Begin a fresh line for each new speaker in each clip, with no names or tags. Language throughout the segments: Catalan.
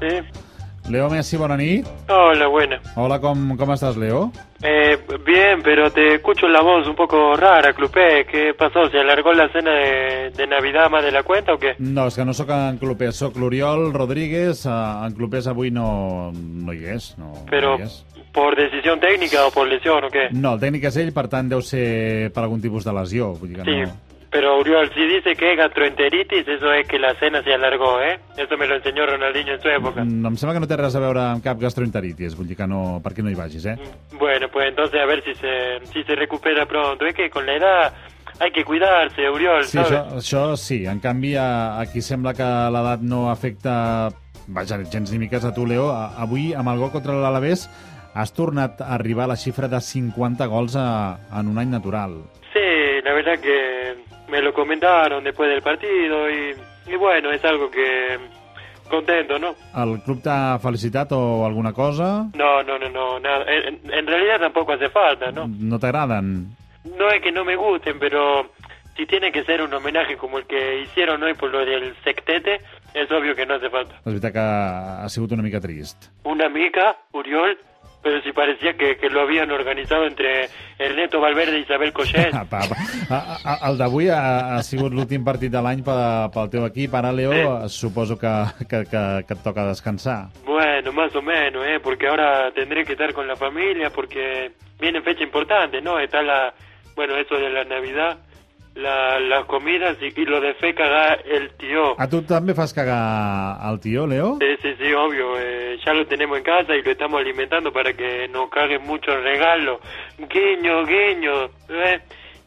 Sí.
Leo Messi, bona nit.
Hola, buena.
Hola, com, com estàs, Leo?
Eh, bien, pero te escucho la voz un poco rara, Clupé. ¿Qué pasó? ¿Se alargó la cena de, de Navidad más de la cuenta o qué?
No, és que no sóc en Clopés, sóc l'Oriol Rodríguez. eh, En Clopés avui no, no hi és. No,
Pero,
no hi és.
¿por decisión técnica o por lesión o qué?
No, el tècnic és ell, per tant, deu ser per algun tipus de lesió. Vull dir que
Sí,
no...
pero Uriol, si dice que es gastroenteritis, eso es que la cena se alargó, ¿eh? Eso me lo enseñó Ronaldinho en su época.
Mm, Em sembla que no té res a veure amb cap gastroenteritis, vull dir que no, per què no hi vagis, eh?
Bueno, pues entonces a ver si se, si se recupera pronto. Es que con la edad hay que cuidarse, Uriol,
Sí,
¿sabes?
això, això sí. En canvi, a, a qui sembla que l'edat no afecta... Vaja, gens ni miques a tu, Leo. A, avui, amb el gol contra l'Alavés, has tornat a arribar a la xifra de 50 gols a, en un any natural.
Sí, la verdad que me lo comentaron después del partido y, y bueno, es algo que contento, ¿no?
El club t'ha felicitat o alguna cosa?
No, no, no, no, nada. En, en realidad tampoco hace falta, ¿no?
No t'agraden?
No es que no me gusten, pero si tiene que ser un homenaje como el que hicieron hoy por lo del sectete, es obvio que no hace falta.
És veritat que ha sigut una mica trist.
Una mica, Uriol, pero si parecía que, que lo habían organizado entre Ernesto Valverde y Isabel Cochet.
Apa, apa. Ah, A- a- El d'avui ha, ha sigut l'últim partit de l'any pel, pel teu equip. Ara, Leo, suposo que, que, que, que et toca descansar.
Bueno, más o menos, ¿eh? porque ahora tendré que estar con la familia, porque viene fecha importante, ¿no? Está la, bueno, eso de la Navidad, la, las comidas y, y lo de fe cagar el tío.
A tu també fas cagar el tio, Leo?
Sí, sí, sí, obvio, eh, ya lo tenemos en casa y lo estamos alimentando para que nos caguen muchos regalos. Guiño, guiño, ¿eh?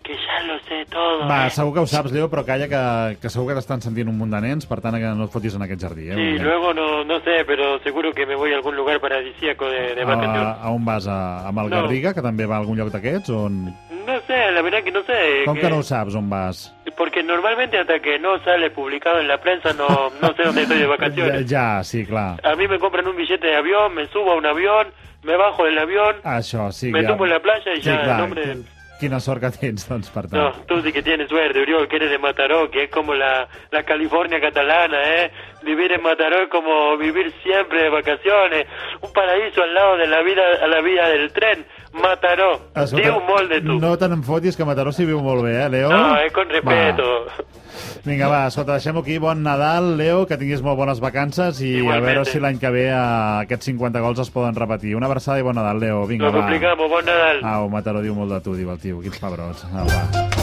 que ya lo sé todo.
Va,
¿eh?
segur que ho saps, Leo, però calla que, que segur que t'estan sentint un munt de nens, per tant que no et fotis en aquest jardí, eh?
Sí,
Montgat?
luego no, no sé, pero seguro que me voy a algún lugar paradisíaco de, de
a,
vacaciones.
a on vas? A, amb el
No.
Garriga, que també va a algun lloc d'aquests? On...
No sé, la verdad que no sé.
Com
que-
que no ho saps, on vas?
Porque normalmente hasta que no sale publicado en la prensa no, no sé dónde estoy de
Ja,
vacaciones.
ja, sí, clar.
A mí me compran un billete de avión, me subo a un avión, me bajo del avión,
Això, sí,
me
ja.
tumbo en la playa y
Sí,
ya,
clar.
el hombre...
Quina sort que tens, doncs, per
No,
tant.
tú sí que tienes suerte, Uriol, que eres de Mataró, que es como la, la California catalana, ¿eh? Vivir en Mataró es como vivir siempre de vacaciones, un paraíso al lado de la vida, a la vía del tren, Mataró, di un molde tú.
Ah, no te n'enfotis, que Mataró s'hi viu molt bé, eh, Leo?
No, es con respeto.
Va. Vinga, va, escolta, deixem aquí. Bon Nadal, Leo, que tinguis molt bones vacances i
Igualmente.
a veure si l'any que ve eh, aquests 50 gols es poden repetir. Una abraçada i bon Nadal, Leo. Vinga,
Lo
va.
complicamos, buen Nadal.
Au, Mataró diu molt de tu, diu el tio. Quins pebrots. Au, va.